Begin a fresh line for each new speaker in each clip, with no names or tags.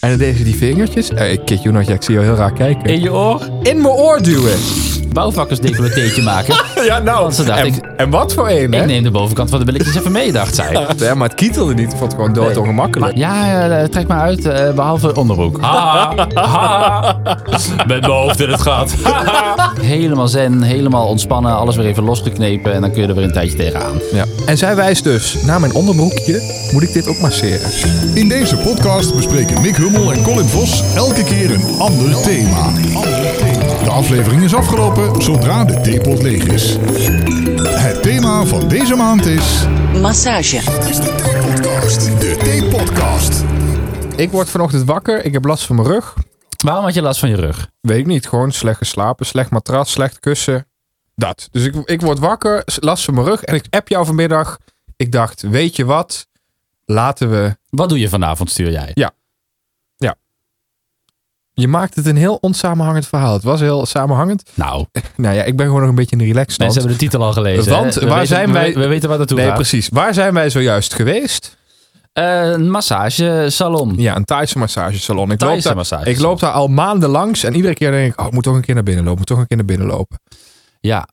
En dan deed ze die vingertjes. Eh, ik kid you not, ja, ik zie jou heel raar kijken.
In je oor.
In mijn oor duwen.
Bouwvakkersdeploteetje maken.
Ja, nou.
Want ze dacht,
en,
ik-
en wat voor een, hè?
Ik neem de bovenkant van de billetjes even mee, dacht zij.
Ja, maar het kietelde niet. Ik vond het gewoon dood ongemakkelijk.
Ja, eh, trek maar uit, eh, behalve onderbroek. Ha, ha. Met mijn hoofd in het gat. helemaal zen, helemaal ontspannen, alles weer even losgeknepen en dan kun je er weer een tijdje tegenaan.
Ja. En zij wijst dus, na mijn onderbroekje moet ik dit ook masseren.
In deze podcast bespreken Nick Hummel en Colin Vos elke keer een ander thema. De aflevering is afgelopen zodra de theepot leeg is. Het thema van deze maand is...
Massage.
is de theepodcast. De theepodcast.
Ik word vanochtend wakker. Ik heb last van mijn rug.
Waarom had je last van je rug?
Weet ik niet. Gewoon slecht geslapen. Slecht matras. Slecht kussen. Dat. Dus ik, ik word wakker. Last van mijn rug. En ik app jou vanmiddag. Ik dacht, weet je wat? Laten we...
Wat doe je vanavond, stuur jij?
Je maakt het een heel onsamenhangend verhaal. Het was heel samenhangend.
Nou,
Nou ja, ik ben gewoon nog een beetje in de relaxstand.
mensen hebben de titel al gelezen.
Want
hè? We
waar
weten-
zijn wij-
We, we weten waar naartoe
Nee,
gaat.
precies. Waar zijn wij zojuist geweest?
Eh, Een massagesalon.
Ja, een Thaise massagesalon. Ik
Thaise
loop, daar,
massagesalon.
ik loop daar al maanden langs en iedere keer denk ik, oh, ik moet toch een keer naar binnen lopen, moet toch een keer naar binnen lopen.
Ja.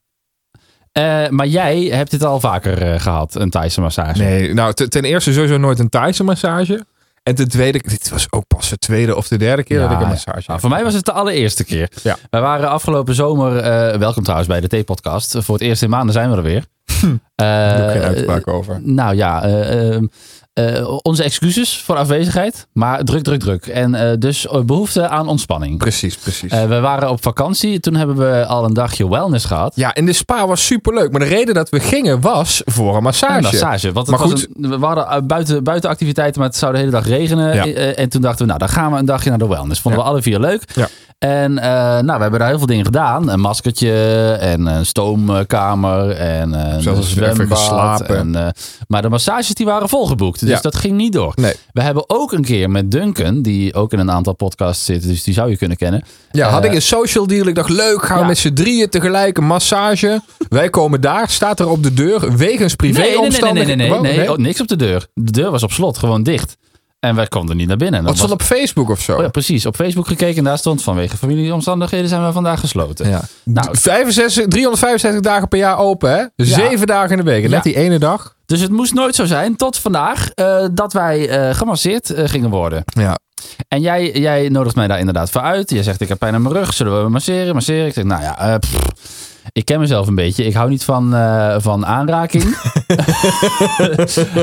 Eh, maar jij hebt dit al vaker eh, gehad, een Thaise massage.
Nee, nou, te- ten eerste sowieso nooit een Thaise massage. En ten tweede, dit was ook pas de tweede of de derde keer
Ja,
dat ik een
ja.
massage
Nou,
had.
voor mij was het de allereerste keer.
Ja.
Wij waren afgelopen zomer, eh, welkom trouwens bij de T-podcast. Voor het eerst in maanden zijn we er weer. Eh,
Doe ik geen uitspraak over.
nou ja, eh, ehm, eh, onze excuses voor afwezigheid, maar druk, druk, druk. En eh, dus behoefte aan ontspanning.
Precies, precies.
Eh, we waren op vakantie, toen hebben we al een dagje wellness gehad.
ja, en de spa was superleuk. Maar de reden dat we gingen was voor een massage.
Een massage. Want het
Maar
was een- we hadden eh, buiten, buitenactiviteiten, maar het zou de hele dag regenen.
Ja.
Eh, en toen dachten we, nou, dan gaan we een dagje naar de wellness. Vonden
Ja.
we alle vier leuk.
Ja.
En eh, nou, we hebben daar heel veel dingen gedaan. Een maskertje en een stoomkamer en eh, een
Zelfs even
zwembad.
geslapen.
En, eh, maar de massages die waren volgeboekt. Dus
Ja.
dat ging niet door.
Nee.
We hebben ook een keer met Duncan, die ook in een aantal podcasts zit. Dus die zou je kunnen kennen.
Ja, had
Eh,
ik een social deal. Ik dacht, leuk, gaan we
ja.
met z'n drieën tegelijk een massage. Wij komen daar, staat er op de deur, wegens
Nee, nee, nee, nee,
privéomstandigheden.
nee, nee, nee,
Wow, nee.
Oh, niks op de deur. De deur was op slot, gewoon dicht. En wij konden niet naar binnen. Dat
Wat
was-
stond op Facebook of zo?
Oh ja, precies. Op Facebook gekeken en daar stond vanwege familieomstandigheden zijn we vandaag gesloten.
Ja.
Nou,
65, 365 dagen per jaar open, hè? Dus Zeven dagen in de week. En Net
Ja.
die ene dag.
dus het moest nooit zo zijn tot vandaag eh, dat wij eh, gemasseerd eh, gingen worden.
Ja.
En jij, jij nodigt mij daar inderdaad voor uit. Jij zegt ik heb pijn aan mijn rug, zullen we masseren, masseren? Ik zeg nou ja, eh, pff, ik ken mezelf een beetje. Ik hou niet van, eh, van aanraking.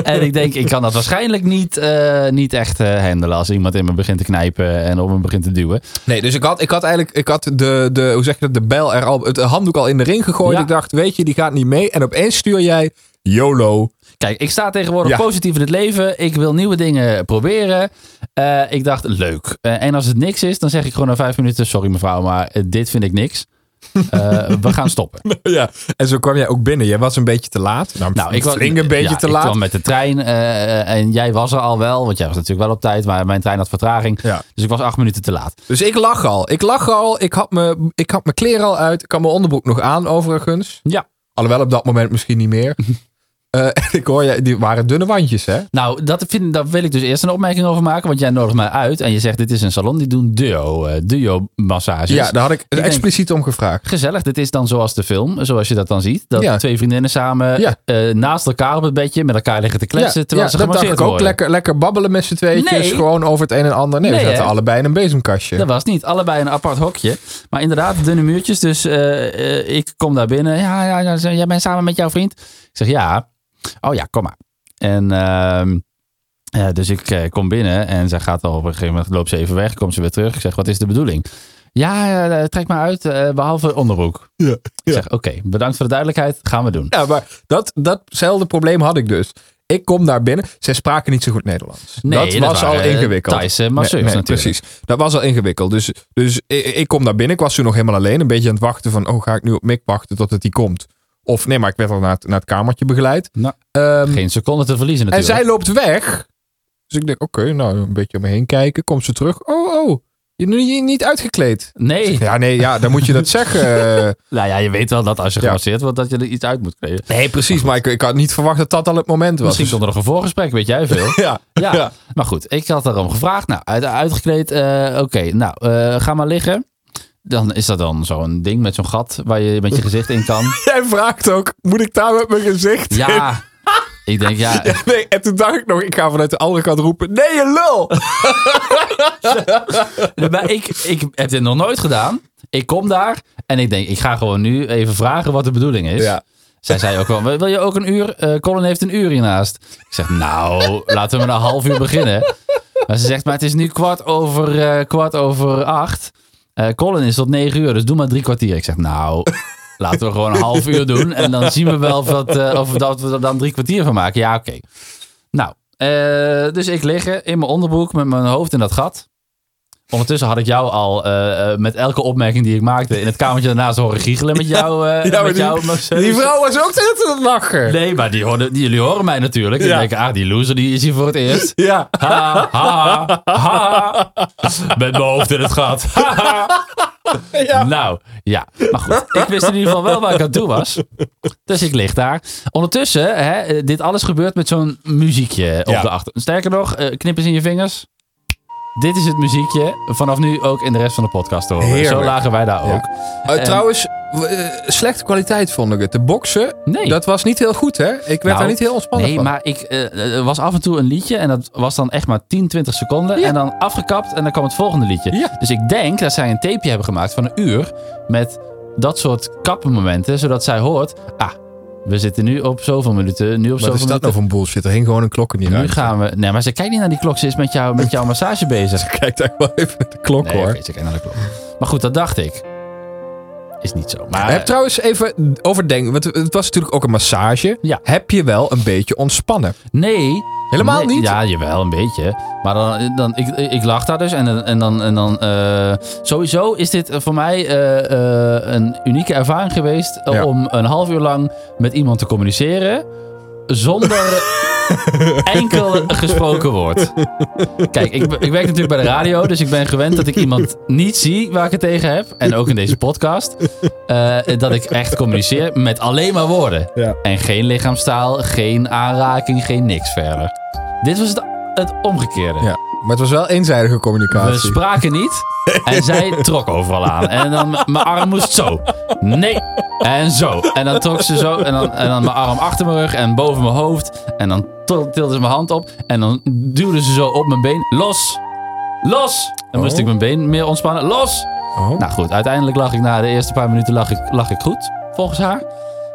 en ik denk ik kan dat waarschijnlijk niet, eh, niet echt eh, handelen als iemand in me begint te knijpen en op me begint te duwen.
Nee, dus ik had, ik had eigenlijk ik had de, de, hoe zeg je dat, de bel er al, het handdoek al in de ring gegooid.
Ja.
Ik dacht, weet je, die gaat niet mee. En opeens stuur jij YOLO.
Kijk, ik sta tegenwoordig
Ja.
positief in het leven. Ik wil nieuwe dingen proberen. Eh, ik dacht, leuk. Eh, en als het niks is, dan zeg ik gewoon na vijf minuten... Sorry mevrouw, maar eh, dit vind ik niks. Eh, we gaan stoppen.
ja. En zo kwam jij ook binnen. Jij was een beetje te laat. Nou, ik was een beetje
ja,
te
Ik
laat.
kwam met de trein eh, en jij was er al wel. Want jij was natuurlijk wel op tijd, maar mijn trein had vertraging.
Ja.
Dus ik was acht minuten te laat.
Dus ik lag al. Ik lag al. Ik had mijn ik had mijn kleren al uit. Ik had mijn onderbroek nog aan, overigens.
Ja.
Alhoewel op dat moment misschien niet meer. Eh, en ik hoor, jij- die waren dunne wandjes, hè?
Nou, dat vind, daar wil ik dus eerst een opmerking over maken. Want jij nodigt mij uit en je zegt... dit is een salon, die doen duo, eh, duo-massages.
Ja, daar had ik,
denk-
expliciet om gevraagd.
Gezellig, dit is dan zoals de film, zoals je dat dan ziet. Dat
Ja.
twee vriendinnen samen
Ja.
eh, naast elkaar op het bedje met elkaar liggen te kletsen terwijl ze
dat dacht
gemasseerd
ik ook.
worden.
Lekker, lekker babbelen met z'n tweetjes.
Nee.
Gewoon over het een en ander. Nee,
Nee,
we zaten
hè?
allebei in een bezemkastje.
Dat was niet. Allebei een apart hokje. Maar inderdaad, dunne muurtjes. Dus eh, eh, ik kom daar binnen. Ja, ja, ja, ze- jij bent samen met jouw vriend. Ik zeg ja. Oh ja, kom maar. En ehm, eh, dus ik eh, kom binnen en zij gaat al op een gegeven moment, loopt ze even weg, komt ze weer terug. Ik zeg, wat is de bedoeling? Ja, eh, trek maar uit, eh, behalve onderbroek.
Ja,
Ik
ja.
zeg, oké, bedankt voor de duidelijkheid, gaan we doen.
Ja, maar dat, datzelfde probleem had ik dus. Ik kom daar binnen. Zij spraken niet zo goed Nederlands.
Nee,
dat,
dat
was al
waren, eh,
ingewikkeld.
Thaise masseurs natuurlijk.
Precies. Dat was al ingewikkeld. Dus, dus ik, ik kom daar binnen. Ik was toen nog helemaal alleen. Een beetje aan het wachten van... Oh, ga ik nu op Mick wachten totdat hij komt? Of nee, maar ik werd al naar het, naar het kamertje begeleid.
Nou,
Ehm,
Geen seconde te verliezen
En
natuurlijk.
zij loopt weg. Dus ik denk, oké, nou een beetje om me heen kijken. Komt ze terug. Oh, oh. Je bent niet- niet uitgekleed.
Nee.
Ja, nee, ja, dan moet je dat zeggen.
Nou ja, je weet wel dat als je
Ja.
gemasseerd wordt, dat je er iets uit moet krijgen.
nee, precies. Maar ik, ik had niet verwacht dat dat al het moment was. Dus
Misschien komt er nog een voorgesprek, weet jij veel.
ja,
Ja,
Ja.
maar goed, ik had daarom gevraagd. Nou, uit, uitgekleed, eh, oké, nou, eh, ga maar liggen. Dan is dat dan zo'n ding met zo'n gat waar je met je gezicht in kan.
Jij vraagt ook, moet ik daar met mijn gezicht in?
Ja, ik denk ja.
Ja, Nee, en toen dacht ik nog, ik ga vanuit de andere kant roepen, nee je lul!
Maar ik, ik heb dit nog nooit gedaan. Ik kom daar en ik denk, ik ga gewoon nu even vragen wat de bedoeling is.
Ja.
Zij zei ook wel, wil je ook een uur? Eh, Colin heeft een uur hiernaast. Ik zeg, nou, laten we maar een half uur beginnen. Maar ze zegt, maar het is nu kwart over, eh, kwart over acht. Eh, Colin is tot negen uur, dus doe maar drie kwartier. Ik zeg, nou, laten we gewoon een half uur doen. En dan zien we wel of, dat, eh, of dat we er dan drie kwartier van maken. Ja, oké. Nou, eh, dus ik liggen in mijn onderbroek met mijn hoofd in dat gat. Ondertussen had ik jou al eh, eh, met elke opmerking die ik maakte in het kamertje daarnaast horen giechelen met jou. eh,
maar
met
die-
jou Marcellus.
Die vrouw was ook net aan het lachen.
Nee, maar die hoorden, die, jullie horen mij natuurlijk. Die
Ja.
denken, ah, die loser die is hier voor het eerst.
Ja,
Ha, ha, ha. Met mijn hoofd in het gat. Ha, ha.
Ja.
Nou, ja. Maar goed, ik wist in ieder geval wel waar ik aan toe was. Dus ik lig daar. Ondertussen, hè, eh, dit alles gebeurt met zo'n muziekje op
Ja.
de achter. Sterker nog, eh, knippers in je vingers. Dit is het muziekje. Vanaf nu ook in de rest van de podcast te horen. Zo
Heerlijk.
lagen wij daar
Ja.
ook.
Eh, trouwens, w- eh, slechte kwaliteit vond ik het. De boksen,
Nee.
dat was niet heel goed hè? Ik werd
Nou,
daar niet heel ontspannen
Nee,
van.
maar ik, eh, er was af en toe een liedje en dat was dan echt maar 10, 20 seconden.
Ja.
En dan afgekapt en dan kwam het volgende liedje.
Ja.
Dus ik denk dat zij een tapeje hebben gemaakt van een uur met dat soort kappenmomenten. Zodat zij hoort, ah, we zitten nu op zoveel minuten, nu op
Wat
zoveel
is dat nou
minuten.
voor een bullshit? Er hing gewoon een klok in die
nu
ruimte.
gaan we... Nee, maar ze kijkt niet naar die klok. Ze is met, jou, met jouw massage bezig.
Kijk daar wel even naar de klok
Nee,
hoor.
oké, ze kijkt naar de klok. Maar goed, dat dacht ik. Is niet zo. Maar
Heb trouwens even overdenken, want het was natuurlijk ook een massage.
Ja.
Heb je wel een beetje ontspannen?
nee,
Helemaal
Nee,
niet?
Ja, jawel, een beetje. Maar dan, dan, ik, ik lag daar dus en, dan- en dan... En dan eh, sowieso is dit voor mij eh, eh, een unieke ervaring geweest... eh,
Ja.
om een half uur lang met iemand te communiceren... zonder enkel gesproken woord. Kijk, ik, ik werk natuurlijk bij de radio... dus ik ben gewend dat ik iemand niet zie waar ik het tegen heb. En ook in deze podcast. eh, dat ik echt communiceer met alleen maar woorden.
Ja.
En geen lichaamstaal, geen aanraking, geen niks verder. Dit was het, het omgekeerde.
Ja. Maar het was wel eenzijdige
We
communicatie.
spraken niet en zij trok overal aan. En dan m- mijn arm moest zo. Nee. En zo. En dan trok ze zo. En dan, en dan mijn arm achter mijn rug en boven mijn hoofd. En dan til- tilde ze mijn hand op. En dan duwde ze zo op mijn been. Los. Los. Dan moest
Oh.
ik mijn been meer ontspannen. Los.
Oh.
Nou goed, uiteindelijk lag ik na de eerste paar minuten lag ik, lag ik goed. Volgens haar.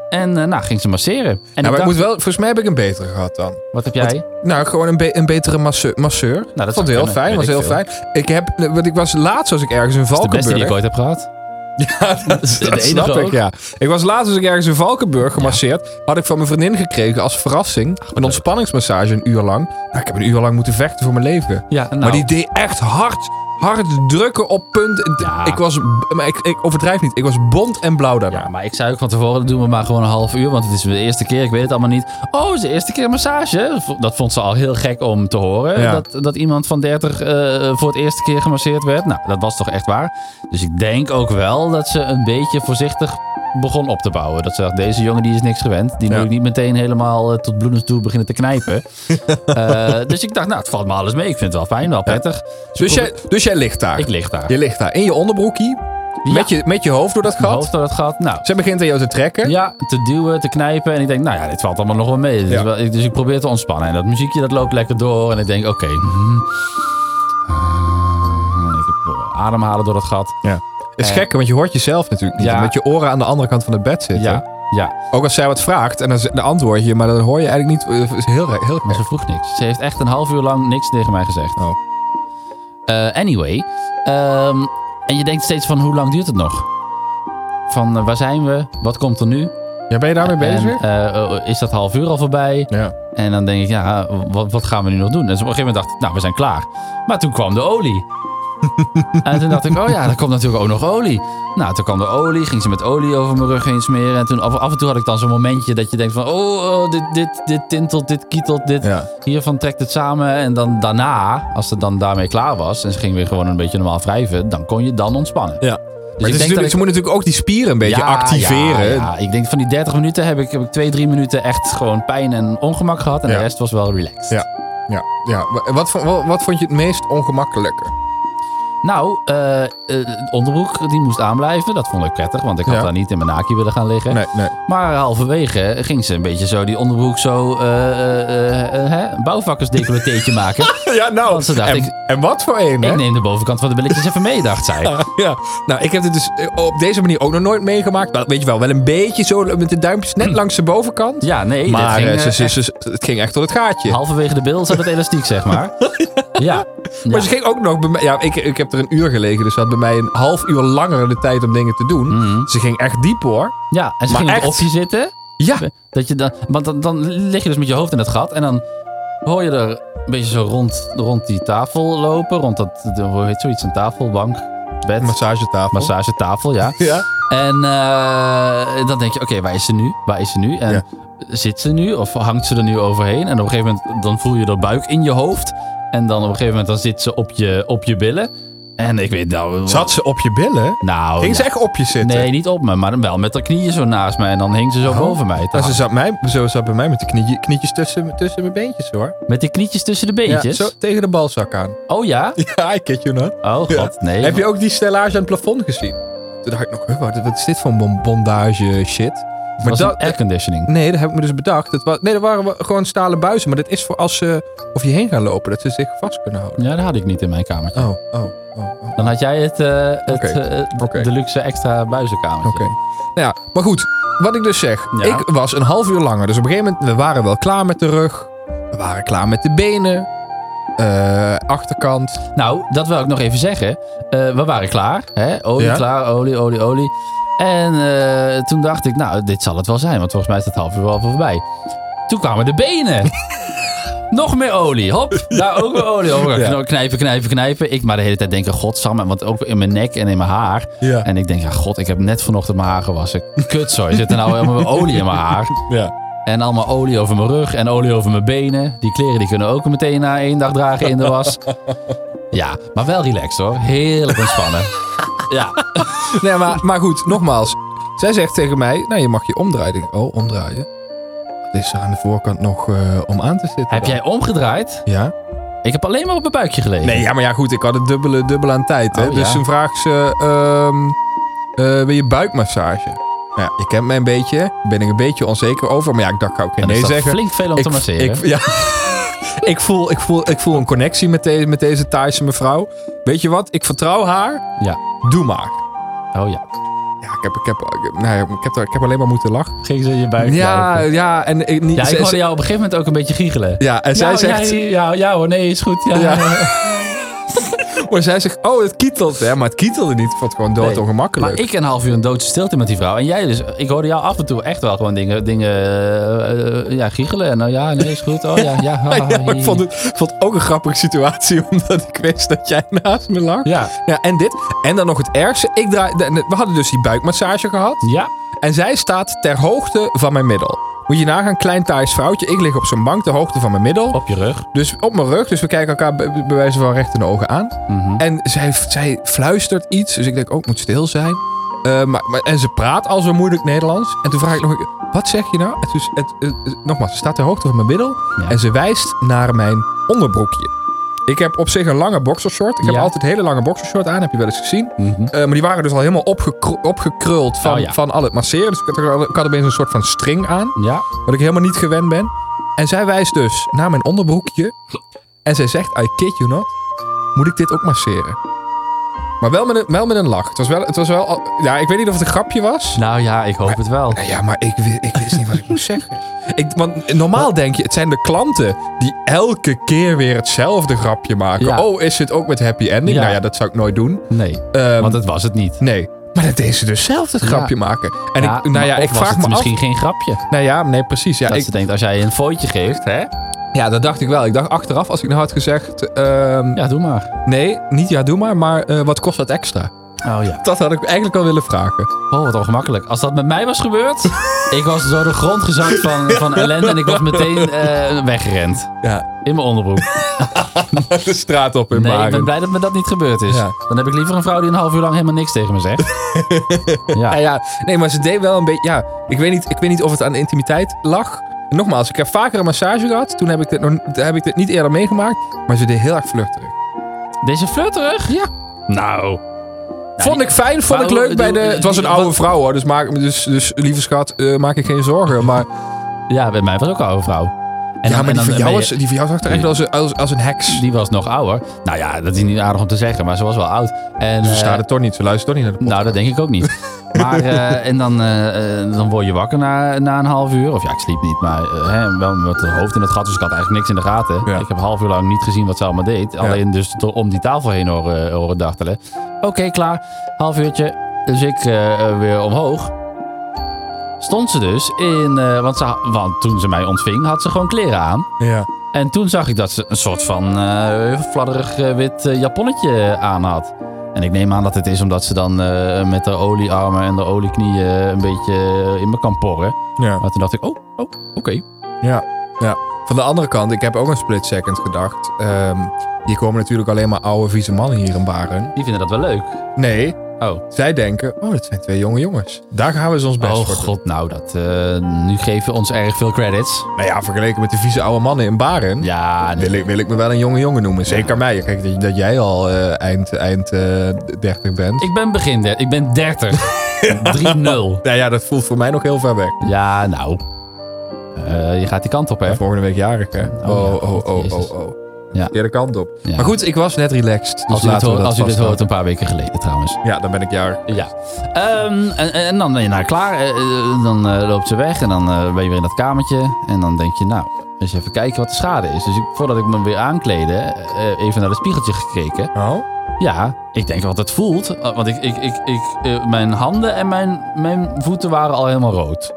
En eh, nou, ging ze masseren. En ik
Nou, maar ik
dacht,
moet wel, volgens mij heb ik een betere gehad dan.
wat heb jij? Nou,
Nou, gewoon een, be- een betere masseur. masseur.
dat
vond
zou
ik heel
kunnen,
fijn. Was
weet
heel fijn.
ik
Ik heb, want ik was laatst was ik ergens in
Dat is de beste die ik
Valkenburg.
ooit heb gehad.
dat
de
dat
enige
snap
ook.
ik, ja. Ik was laatst was ik ergens in Valkenburg gemasseerd. Had ik van mijn vriendin gekregen als verrassing een ontspanningsmassage een uur lang. Nou, ik heb een uur lang moeten vechten voor mijn leven.
Ja, nou,
Maar die deed echt hard, hard drukken op punten. D-
Ja.
Ik was, maar ik, ik overdrijf niet. Ik was bont en blauw daarna.
Ja, maar ik zei ook van tevoren, dat doen we maar gewoon een half uur. Want het is de eerste keer, ik weet het allemaal niet. Oh, het is de eerste keer massage. Dat vond ze al heel gek om te horen.
Ja.
Dat, dat iemand van 30 eh, voor het eerste keer gemasseerd werd. Nou, dat was toch echt waar. Dus ik denk ook wel dat ze een beetje voorzichtig begon op te bouwen. Dat ze dacht, deze jongen die is niks gewend. Die
Ja.
moet ik niet meteen helemaal eh, tot bloedens toe beginnen te knijpen. Eh, dus ik dacht, nou, het valt me alles mee. Ik vind het wel fijn, wel prettig.
Dus, jij, dus jij ligt daar.
Ik lig daar.
Je ligt daar in je onderbroekie. Met, je, met je hoofd door dat
Mijn
gat.
hoofd door dat gat. Nou,
Ze begint aan jou te trekken.
Ja, te duwen, te knijpen. En ik denk, nou ja, dit valt allemaal nog wel mee. Dus,
Ja.
wel- ik- dus ik probeer te ontspannen. En dat muziekje, dat loopt lekker door. En ik denk, oké. mhm. Eh, ik heb ademhalen door dat gat.
Is
Eh.
gekker, want je hoort jezelf natuurlijk niet.
Ja.
Omdat je oren aan de andere kant van het bed zitten.
Ja, ja.
Ook als zij wat vraagt en dan z- dan antwoord je, maar dan hoor je eigenlijk niet. eh, Is heel, heel, heel
Maar ze vroeg niks. Ze heeft echt een half uur lang niks tegen mij gezegd.
Oh.
Eh, anyway. ehm, en je denkt steeds van, hoe lang duurt het nog? Van, eh, waar zijn we? Wat komt er nu?
Ja, ben je dus daarmee bezig?
En, eh, eh, is dat half uur al voorbij?
Ja.
En ah, dan denk ik, ja, wat, wat gaan we nu nog doen? Dus op een gegeven moment dacht ik, nou, we zijn klaar. Maar toen kwam de olie. En toen dacht ik, oh ja, daar komt natuurlijk ook nog olie. Nou, toen kwam de olie, ging ze met olie over mijn rug heen smeren. En toen af, af en toe had ik dan zo'n momentje dat je denkt van... Oh, oh, dit, dit, dit tintelt, dit kietelt, dit...
Ja.
Hiervan trekt het samen. En dan daarna, als het dan daarmee klaar was... en ze ging weer gewoon een beetje normaal wrijven... dan kon je dan ontspannen. Dus
Ja. Maar
ik
het is
denk dat
natuurlijk,
ik-
ze moeten natuurlijk ook die spieren een beetje
Ja,
activeren.
Ja, ja. Ik denk van die 30 minuten heb ik, heb ik twee, drie minuten echt gewoon pijn en ongemak gehad. En
Ja.
de rest was wel relaxed.
Ja. Ja, ja. Wa- Wat, vond- wat, wat vond je het meest ongemakkelijke?
Nou, eh, eh, de onderbroek die moest aanblijven. Dat vond ik prettig, want ik had
Ja.
daar niet in mijn naakje willen gaan liggen.
Nee, nee.
Maar halverwege ging ze een beetje zo die onderbroek zo eh eh, eh, hè, een bouwvakkersdecolleteetje maken.
Ja, nou.
Want ze dacht,
en,
ik-
en wat voor een, hè?
Ik neem de bovenkant van de billetjes even mee, dacht zij.
Ja, ja. Nou, ik heb dit dus eh, op deze manier ook nog nooit meegemaakt. Maar weet je wel, wel een beetje zo met de duimpjes net langs de bovenkant.
Hm. Ja, nee, dat
maar
ging,
eh,
eh,
ze- ze-
echt
ze- het ging echt tot het gaatje.
halverwege de bil zat het elastiek, zeg maar. Ja.
Maar
ja.
ze ging ook nog bij mij... Ja, ik, ik heb er een uur gelegen, dus ze had bij mij een half uur langer de tijd om dingen te doen.
Mhm.
Ze ging echt diep, hoor.
Ja, en ze
Maar
ging op het
echt?
opje zitten.
Ja.
Dat je dan, want dan, dan lig je dus met je hoofd in het gat en dan hoor je er een beetje zo rond, rond die tafel lopen. Rond dat, de- hoe heet zoiets, een tafel, bank, bed,
Massagetafel. Oh.
massagetafel, ja.
ja.
En eh, dan denk je, oké, waar is ze nu? Waar is ze nu? En
Ja.
zit ze nu of hangt ze er nu overheen? En op een gegeven moment dan voel je de buik in je hoofd. En dan op een gegeven moment dan zit ze op je, op je billen. En ik weet nou...
Zat ze op je billen?
Nou,
Ging ze
ja.
echt op je zitten?
Nee, niet op me, maar wel met haar knieën zo naast me. En dan hing ze zo boven mij. Ah, te
Nou, ze
hangen.
zat mij, zo zat bij mij met de knie- knietjes tussen, tussen mijn beentjes, hoor.
Met de knietjes tussen de
Ja,
beentjes?
zo tegen de balzak aan.
Oh ja?
Ja, ik kid you not.
Oh god,
Ja.
nee.
Heb je ook die stellage aan het plafond gezien? Toen dacht ik nog, huh, wat, wat is dit voor een bon- bondage shit?
Het
Maar
was
dat,
een airconditioning.
nee, dat heb ik me dus bedacht. Dat wa- nee, dat waren wa- gewoon stalen buizen. Maar dat is voor als ze of je heen gaan lopen, dat ze zich vast kunnen houden.
Ja, dat had ik niet in mijn kamertje.
Oh, oh, oh, oh. Oké.
Dan had jij het, eh het
Oké,
eh,
oké.
de luxe extra buizenkamertje.
Nou ja, maar goed. Wat ik dus zeg.
Ja.
Ik was een half uur langer. Dus op een gegeven moment, we waren wel klaar met de rug. We waren klaar met de benen. eh, achterkant.
Nou, dat wil ik nog even zeggen. Eh, we waren klaar. Hè? Olie
Ja.
klaar, olie, olie, olie. En eh, toen dacht ik, nou, dit zal het wel zijn. Want volgens mij is het half uur wel voorbij. Toen kwamen de benen. Nog meer olie. Hop, daar ook weer olie over.
Ja.
Nou, Knijpen, knijpen, knijpen. Ik maar de hele tijd denken, godsamme. Want ook in mijn nek en in mijn haar.
Ja.
En ik denk, ja, god, ik heb net vanochtend mijn haar gewassen. Kutzooi, zit er nou helemaal olie in mijn haar.
Ja.
En allemaal olie over mijn rug en olie over mijn benen. Die kleren die kunnen ook meteen na één dag dragen in de was. Ja, maar wel relaxed hoor. Heerlijk ontspannen. Ja.
Nee, maar, maar goed, nogmaals. Zij zegt tegen mij, nou je mag je omdraaien. Ik denk, Oh, omdraaien. Wat is er aan de voorkant nog eh, om aan te zitten?
Heb
dan?
jij omgedraaid?
Ja.
Ik heb alleen maar op mijn buikje gelegen.
Nee, ja, maar ja, goed, ik had het dubbele, dubbele aan tijd. Hè?
Oh,
dus
ja.
toen vraagt ze, ehm eh, wil je buikmassage? Nou ja, je kent mij een beetje, daar ben ik een beetje onzeker over. Maar ja, ik dacht, ga ik
En
geen
is
nee
dat
zeggen.
flink veel om te masseren.
Ik, ja. ik, voel, ik, voel, ik voel een connectie met, de- met deze Thaise mevrouw. Weet je wat? Ik vertrouw haar.
Ja.
Doe maar.
Oh ja.
Ja, ik heb, ik heb, ik heb, nou ja, ik heb, daar- ik heb alleen maar moeten lachen.
Ging ze je buik
Ja, ja, en ik, niet,
eh, Ja, ik
ze-
hoorde
ze-
jou op een gegeven moment ook een beetje giechelen.
ja, en zij
ja,
zegt,
Ja, ja, ja hoor, nee, is goed. Ja.
Ja. maar zij zegt, oh, het kietelt. Ja, maar het kietelde niet. Ik vond het gewoon dood
Nee,
ongemakkelijk.
Maar ik een half uur een doodse stilte met die vrouw. En jij dus, ik hoorde jou af en toe echt wel gewoon dingen, dingen eh, eh, ja, giechelen. En nou ja, nee, is goed. Oh ja, ja. ha, ha,
Ja, maar
hi.
ik vond het, ik vond het ook een grappige situatie, omdat ik wist dat jij naast me lag.
Ja.
Ja, en dit. En dan nog het ergste. Ik draai, we hadden dus die buikmassage gehad.
Ja.
En zij staat ter hoogte van mijn middel. Moet je nagaan, klein Thais vrouwtje. Ik lig op zo'n bank ter hoogte van mijn middel.
Op je rug.
Dus op mijn rug. Dus we kijken elkaar bij bij wijze van recht in de ogen aan.
Mhm.
En zij, zij fluistert iets. Dus ik denk ook, ik moet stil zijn. Eh, maar, maar, en ze praat al zo moeilijk Nederlands. En toen vraag ik nog, een keer, wat zeg je nou? En toen, het, het- het- nogmaals, ze staat ter hoogte van mijn middel.
Ja.
En ze wijst naar mijn onderbroekje. Ik heb op zich een lange boxershort. Ik heb
Ja. Mhm.
altijd hele lange boxershort aan, heb je wel eens gezien. Eh, maar die waren dus al helemaal opgekro- opgekruld van,
Oh, ja.
van al het masseren. Dus ik had, er- ik had opeens een soort van string aan.
Ja.
Wat ik helemaal niet gewend ben. En zij wijst dus naar mijn onderbroekje. En zij zegt, I kid you not. Moet ik dit ook masseren? Maar wel met een, wel met een lach. Het was wel, het was wel al- ja, ik weet niet of het een grapje was.
Nou ja, ik hoop het wel.
Nou ja, maar ik, wi- ik wist niet wat ik moest zeggen. Ik, want normaal denk je, het zijn de klanten die elke keer weer hetzelfde grapje maken.
Ja.
Oh, is het ook met happy ending?
Ja.
Nou ja, dat zou ik nooit doen.
Nee,
Ehm,
want het was het niet.
Nee. Maar dat deed ze dus zelf het
Ja.
grapje maken. En
Ja,
ik, nou ja,
maar
ik
of was
vraag
het
me
misschien
af.
geen grapje.
Nou ja, nee, precies. Ja,
dat
ik,
ze denkt, als jij een fooitje geeft, hè?
Ja, dat dacht ik wel. Ik dacht achteraf, als ik nou had gezegd... ehm,
Ja, doe maar.
Nee, niet ja, doe maar, maar eh, wat kost dat extra?
Oh ja.
Dat had ik eigenlijk wel willen vragen.
Oh, wat ongemakkelijk. Als dat met mij was gebeurd, ik was door de grond gezakt van, van ellende en ik was meteen eh, weggerend.
Ja,
In mijn onderbroek.
de straat op in
Nee, ik
Baren.
ben blij dat me dat niet gebeurd is.
Ja.
Dan heb ik liever een vrouw die een half uur lang helemaal niks tegen me zegt.
Ja,
Ja.
ja, nee, maar ze deed wel een beetje... Ja, ik weet, niet, ik weet niet of het aan intimiteit lag. Nogmaals, ik heb vaker een massage gehad. Toen heb ik dit, nog, toen heb ik dit niet eerder meegemaakt. Maar ze deed heel erg flirterig.
Deze flirterig? Ja. Nou.
vond ik fijn, vond ik
waarom-
leuk bij de...
bedoel, eh,
Het was een
die-
oude
wat-
vrouw, hoor. Dus, maak, dus, dus lieve schat, eh, maak ik geen zorgen. Maar,
Ja, bij mij was ook een oude vrouw. En dan-
ja, maar
en
die
dan
van, jou
ben
was,
je-
die van jou zag er echt wel als, een- als, als een heks.
Die was nog ouder. Nou ja, dat is niet aardig om te zeggen, maar ze was wel oud. En,
Ze
eh,
staat er toch niet. Ze luistert toch niet naar de podcast.
Nou, dat denk ik ook niet. Maar, eh, en dan, eh, eh, dan word je wakker na, na een half uur. Of ja, ik sliep niet, maar eh, hè, wel met het hoofd in het gat. Dus ik had eigenlijk niks in de gaten.
Ja.
Ik heb een half uur lang niet gezien wat ze allemaal deed. Alleen dus to- om die tafel heen horen, eh, horen dartelen. Oké, klaar. Half uurtje. Dus ik eh, eh, weer omhoog. Stond ze dus in... eh, want, ze, ha- want toen ze mij ontving, had ze gewoon kleren aan.
Ja.
En toen zag ik dat ze een soort van eh fladderig eh, wit eh, japonnetje aan had. En ik neem aan dat het is omdat ze dan eh, met de oliearmen en de olieknieën een beetje eh, in me kan porren.
ja.
Maar toen dacht ik, oh, oh oké.
Ja, ja. Van de andere kant, ik heb ook een split second gedacht. Ehm, hier komen natuurlijk alleen maar oude vieze mannen hier in Baren.
Die vinden dat wel leuk.
Nee,
Oh,
zij denken, oh, dat zijn twee jonge jongens. Daar gaan we ze ons best
oh
voor doen.
god, nou, dat, eh, nu geven we ons erg veel credits.
Nou ja, vergeleken met de vieze oude mannen in Baren...
Ja, nee.
Wil ik, wil ik me wel een jonge jongen noemen. Zeker mij. Kijk, dat, dat jij al eh, eind, eind eh 30 bent.
ik ben begin, der- ik ben 30. 3-0.
Nou ja, dat voelt voor mij nog heel ver weg.
Ja, nou. Eh, je gaat die kant op, hè?
En volgende week jarig, hè? Oh,
ja.
oh, oh, oh,
Jezus.
oh.
Ja.
Verkeerde kant op.
Ja.
Maar goed, ik was net relaxed. Dus
als u dit,
laten we
hoort,
dat
als u dit
vasthouden.
hoort, een paar weken geleden trouwens.
Ja, dan ben ik jarig.
Ja. Ehm, en, en dan ben je nou klaar. Eh, eh, dan eh, loopt ze weg en dan eh, ben je weer in dat kamertje. En dan denk je, nou, eens even kijken wat de schade is. Dus ik, voordat ik me weer aankleedde, eh, even naar het spiegeltje gekeken.
Oh?
Ja, ik denk wat het voelt. eh, Want ik, ik, ik, ik, eh, mijn handen en mijn, mijn voeten waren al helemaal rood.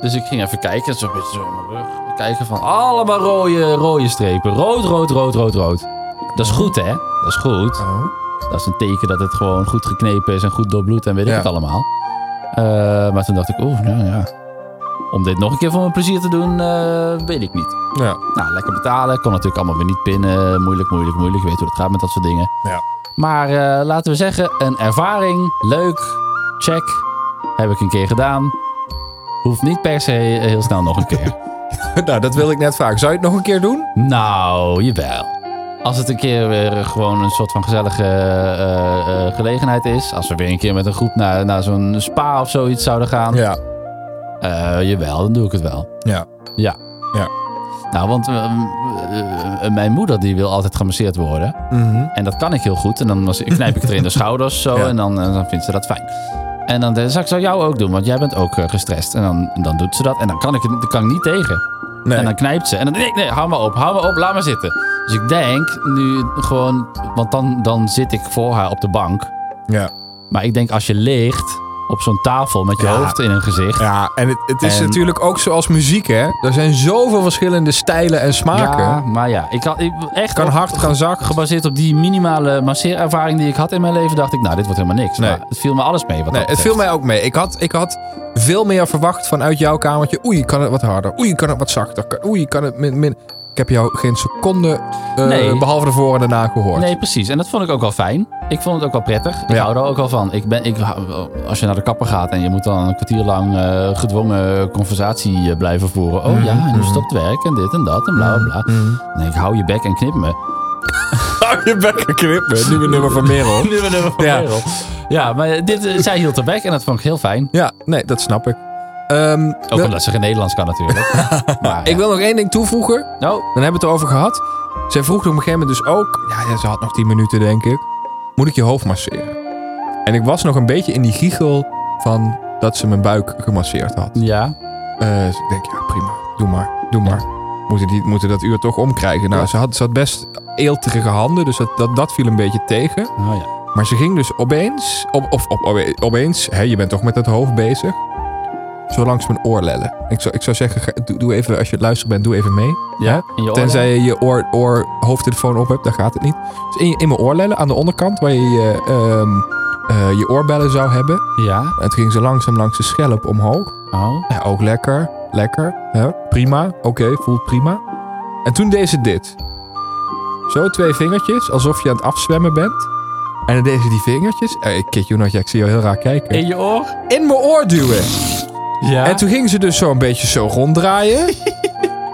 Dus ik ging even kijken, zo een beetje zo in mijn rug. Kijken van allemaal rode, rode strepen. Rood, rood, rood, rood, rood. Dat is goed, hè? Dat is goed.
Oh.
Dat is een teken dat het gewoon goed geknepen is en goed doorbloed en weet ik
Ja.
het allemaal. Eh, maar toen dacht ik, oeh, nou ja. Om dit nog een keer voor mijn plezier te doen, eh, weet ik niet.
Ja.
Nou, lekker betalen. Kon natuurlijk allemaal weer niet pinnen. Moeilijk, moeilijk, moeilijk. Je weet hoe het gaat met dat soort dingen.
Ja.
Maar eh, laten we zeggen, een ervaring. Leuk. Check. Heb ik een keer gedaan. Hoeft niet per se heel snel nog een keer.
Nou, dat wil ik net vaak. Zou je het nog een keer doen?
Nou, jawel. Als het een keer weer gewoon een soort van gezellige eh, eh, gelegenheid is. Als we weer een keer met een groep naar, naar zo'n spa of zoiets zouden gaan.
Ja.
Eh, jawel, dan doe ik het wel.
Ja.
Ja.
Ja.
Nou, want eh, eh, eh, mijn moeder die wil altijd gemasseerd worden.
Mhm.
En dat kan ik heel goed. En dan was, knijp ik er in de schouders zo.
Ja.
En dan, en dan vindt ze dat fijn. En dan eh, zou ik zou jou ook doen, want jij bent ook eh, gestrest. En dan, dan doet ze dat. En dan kan ik, het- kan ik niet tegen.
Nee.
En dan knijpt ze. En dan nee, nee, hou maar op, hou maar op, laat maar zitten. Dus ik denk nu gewoon, want dan, dan zit ik voor haar op de bank.
ja.
Maar ik denk als je ligt op zo'n tafel met je
Ja.
hoofd in een gezicht.
ja, en het, het is
En-
natuurlijk ook zoals muziek, hè? Er zijn zoveel verschillende stijlen en smaken.
Ja, maar ja, ik kan ik, echt
Kan
op-
hard, kan zacht.
gebaseerd op die minimale masseerervaring die ik had in mijn leven, dacht ik, nou, dit wordt helemaal niks.
Nee.
Maar het viel me alles mee. Wat
Nee,
dat
het viel
betreft.
mij ook mee. Ik had, ik had veel meer verwacht vanuit jouw kamertje. Oei, kan het wat harder. Oei, kan het wat zachter. Kan- Oei, kan het min, min. Ik heb jou geen seconde, eh,
Nee.
behalve de voor en daarna gehoord.
Nee, precies. En dat vond ik ook wel fijn. Ik vond het ook wel prettig. Ik
Ja.
hou er ook wel van. Ik ben, ik, hou- als je naar de kapper gaat en je moet dan een kwartier lang eh, gedwongen conversatie eh, blijven voeren. Oh
Mhm,
ja, en nu
mhm.
stopt werk en dit en dat en bla bla bla. Nee, ik hou je bek en knip me.
Hou je bek geknippen. Nieuwe nummer van Merel.
Nu ben ik
Ja.
ja. ja, maar dit, eh, zij hield er bek en dat vond ik heel fijn.
Ja, nee, dat snap ik. Ehm,
Ook
wil-
omdat ze geen Nederlands kan natuurlijk. maar,
ik wil nog één ding toevoegen.
Nou,
Dan hebben we het erover gehad. Zij vroeg op een gegeven moment dus ook... Ja, ja, ze had nog 10 minuten, denk ik. Moet ik je hoofd masseren? En ik was nog een beetje in die giechel van dat ze mijn buik gemasseerd had.
ja.
Eh, dus ik denk, ja, prima. Doe maar, doe maar. Moeten, die, moeten dat uur toch omkrijgen. Nou,
Ja.
ze had, ze had best eelterige handen, dus dat, dat, dat viel een beetje tegen.
Oh, ja.
Maar ze ging dus opeens... Op, of op, opeens, hè, je bent toch met dat hoofd bezig. zo langs mijn oor lellen. Ik zou, ik zou zeggen, ga- doe, doe even, als je het luisteren bent, doe even mee.
Ja, in je oren.
Tenzij je je oor, oor, hoofdtelefoon op hebt, dan gaat het niet. Dus in, in mijn oorlellen, aan de onderkant, waar je je, ehm, eh, je oorbellen zou hebben.
Ja.
En toen ging ze langzaam langs de schelp omhoog.
Oh.
Ja, ook lekker. Lekker. Hè? Prima. Oké, voelt prima. En toen deed ze dit. Zo twee vingertjes, alsof je aan het afzwemmen bent. En dan deed ze die vingertjes. Eh, ik kid you not, ja, ik zie jou heel raar kijken.
In je oor?
In mijn oor duwen.
Ja.
En toen ging ze dus zo een beetje zo ronddraaien.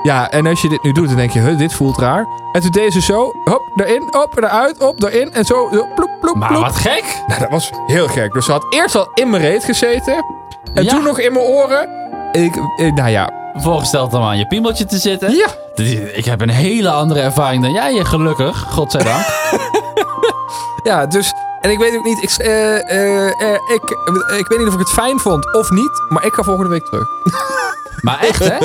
ja, en als je dit nu doet, dan denk je, huh, dit voelt raar. En toen deed ze zo, hop, daarin, op, daaruit, op, daarin. En zo, zo, ploep, ploep,
maar
ploep.
wat gek.
Nou, dat was heel gek. Dus ze had eerst al in mijn reet gezeten. En
Ja.
toen nog in mijn oren. Ik, eh, nou ja,
Voorgesteld om aan je piemeltje te zitten.
Ja.
Dit is- Ik heb een hele andere ervaring dan jij, eh, gelukkig. Godzijdank.
Ja, dus. En ik weet ook niet. Ik, eh, eh, eh, ik, ik weet niet of ik het fijn vond of niet. Maar ik ga volgende week terug.
Maar echt, hè?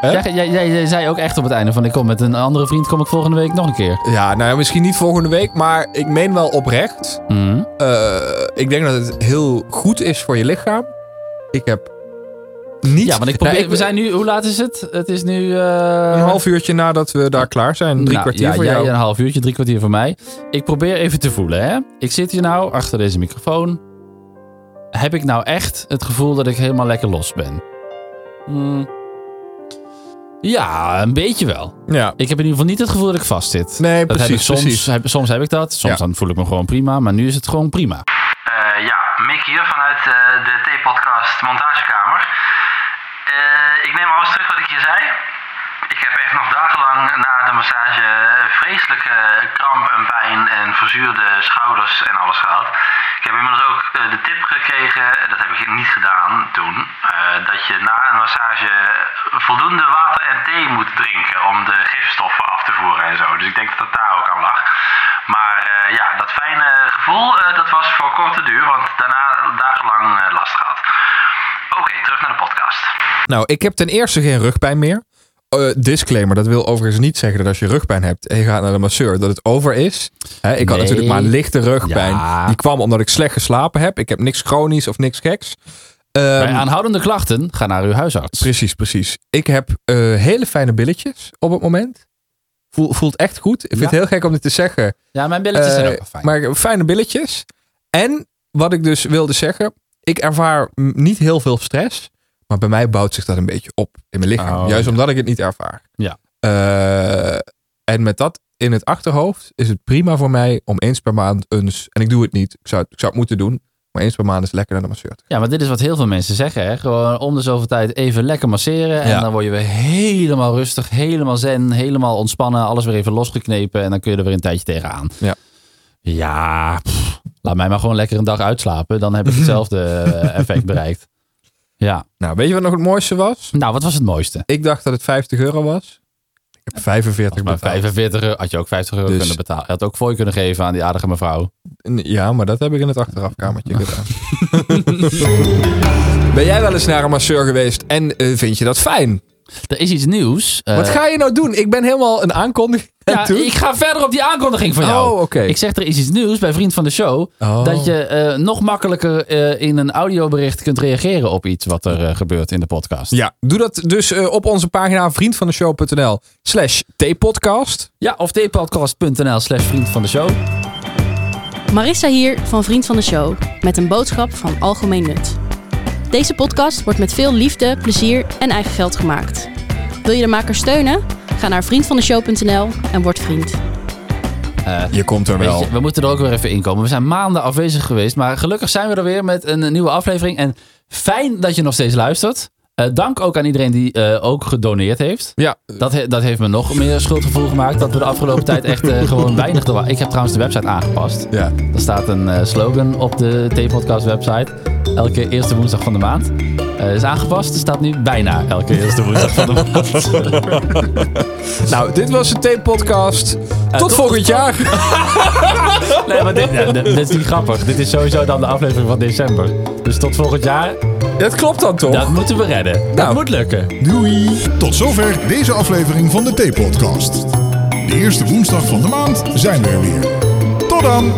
Jij, jij, jij, jij zei ook echt op het einde van... Ik kom met een andere vriend, kom ik volgende week nog een keer.
Ja, nou ja, misschien niet volgende week. Maar ik meen wel oprecht.
Mhm.
Eh, ik denk dat het heel goed is voor je lichaam. Ik heb niet.
Ja, want ik probeer...
Nou,
we zijn nu... Hoe laat is het? Het is nu... eh,
een half uurtje nadat we daar klaar zijn. Drie
Nou,
kwartier
ja,
voor
jij
jou.
een half uurtje, drie kwartier voor mij. Ik probeer even te voelen, hè. Ik zit hier nou achter deze microfoon. Heb ik nou echt het gevoel dat ik helemaal lekker los ben? Hmm. Ja, een beetje wel.
Ja.
Ik heb in ieder geval niet het gevoel dat ik vast zit.
Nee,
dat heb ik
precies.
soms,
precies.
Heb, soms heb ik dat. Soms
Ja.
dan voel ik me gewoon prima. Maar nu is het gewoon prima.
Eh, ja, Mick hier vanuit eh, de T-podcast Montagekamer. Eh, ik neem alles terug wat ik je zei. Ik heb echt nog dagenlang na de massage eh, vreselijke kramp en pijn en verzuurde schouders en alles gehad. Ik heb inmiddels ook eh, de tip gekregen, dat heb ik niet gedaan toen, eh, dat je na een massage voldoende water en thee moet drinken om de gifstoffen af te voeren en zo. Dus ik denk dat het daar ook aan lag. Maar eh, ja, dat fijne gevoel, eh, dat was voor korte duur, want daarna dagenlang eh, last gehad. Oké, terug naar de podcast.
Nou, ik heb ten eerste geen rugpijn meer. Eh, disclaimer, dat wil overigens niet zeggen dat als je rugpijn hebt en je gaat naar de masseur, dat het over is. Hè, ik had
Nee.
natuurlijk maar lichte rugpijn.
Ja.
Die kwam omdat ik slecht geslapen heb. Ik heb niks chronisch of niks geks. Ehm,
Bij aanhoudende klachten, ga naar uw huisarts.
Precies, precies. Ik heb eh, hele fijne billetjes op het moment. Voel- voelt echt goed. Ik vind
Ja.
het heel gek om dit te zeggen.
Ja, mijn billetjes zijn
Eh,
ook wel fijn.
Maar fijne billetjes. En wat ik dus wilde zeggen, ik ervaar m- niet heel veel stress. Maar bij mij bouwt zich dat een beetje op in mijn lichaam.
Oh,
Juist
ja.
omdat ik het niet ervaar.
Ja.
Eh, en met dat in het achterhoofd is het prima voor mij om eens per maand eens. En ik doe het niet. Ik zou, het- ik zou het moeten doen. Maar eens per maand is lekker naar de masseur. te
Ja, maar dit is wat heel veel mensen zeggen. Hè? Gewoon om de zoveel tijd even lekker masseren. En
Ja.
dan word je weer helemaal rustig, helemaal zen, helemaal ontspannen. Alles weer even losgeknepen. En dan kun je er weer een tijdje tegenaan.
Ja.
Ja, pff, laat mij maar gewoon lekker een dag uitslapen. Dan heb ik hetzelfde eh, effect bereikt. Ja.
gaan. Nou, weet je wat nog het mooiste was?
Nou, wat was het mooiste?
Ik dacht dat het 50 euro was. Ik heb 45
Maar
betaald.
45 euro, had je ook 50 euro
Dus-
kunnen betalen. Je had ook fooi kunnen geven aan die aardige mevrouw.
Ja, maar dat heb ik in het achterafkamertje gedaan. ben jij wel eens naar een masseur geweest en eh, vind je dat fijn?
Er is iets nieuws.
Wat
Eh,
ga je nou doen? Ik ben helemaal een aankondiging aan
ja,
het doen.
ik ga verder op die aankondiging van jou.
Oh, oké.
Ik zeg, er is iets nieuws bij Vriend van de Show.
Oh.
Dat je eh, nog makkelijker eh, in een audiobericht kunt reageren op iets wat er eh, gebeurt in de podcast.
Ja, doe dat dus eh, op onze pagina vriendvandeshow.nl slash tpodcast.
Ja, of tpodcast.nl slash vriend van de show.
Marissa hier van Vriend van de Show met een boodschap van algemeen nut. Deze podcast wordt met veel liefde, plezier en eigen geld gemaakt. Wil je de maker steunen? Ga naar vriendvandeshow.nl en word vriend.
Je komt er
Weet je, we moeten er ook weer even inkomen. We zijn maanden afwezig geweest, maar gelukkig zijn we er weer met een eh, nieuwe aflevering. En fijn dat je nog steeds luistert. Eh, dank ook aan iedereen die eh, ook gedoneerd heeft.
Ja, eh,
Dat, he- dat heeft me nog meer schuldgevoel gemaakt. Dat we de afgelopen tijd echt eh, gewoon weinig... te wa- Ik heb trouwens de website aangepast.
ja.
Er staat een eh, slogan op de T-podcast website. Elke eerste woensdag van de maand. Eh, is aangepast. Staat nu bijna elke eerste woensdag van de maand.
Nou, dit was de T-podcast. tot,
Eh, tot-
volgend jaar.
nee, maar dit, nee, dit- dit is niet grappig. Dit is sowieso dan de aflevering van december. Dus tot volgend jaar.
Dat klopt dan toch?
Dat moeten we redden.
Nou.
Dat moet lukken.
Doei! Tot zover deze aflevering van de Theepodcast. De eerste woensdag van de maand zijn we er weer. Tot dan!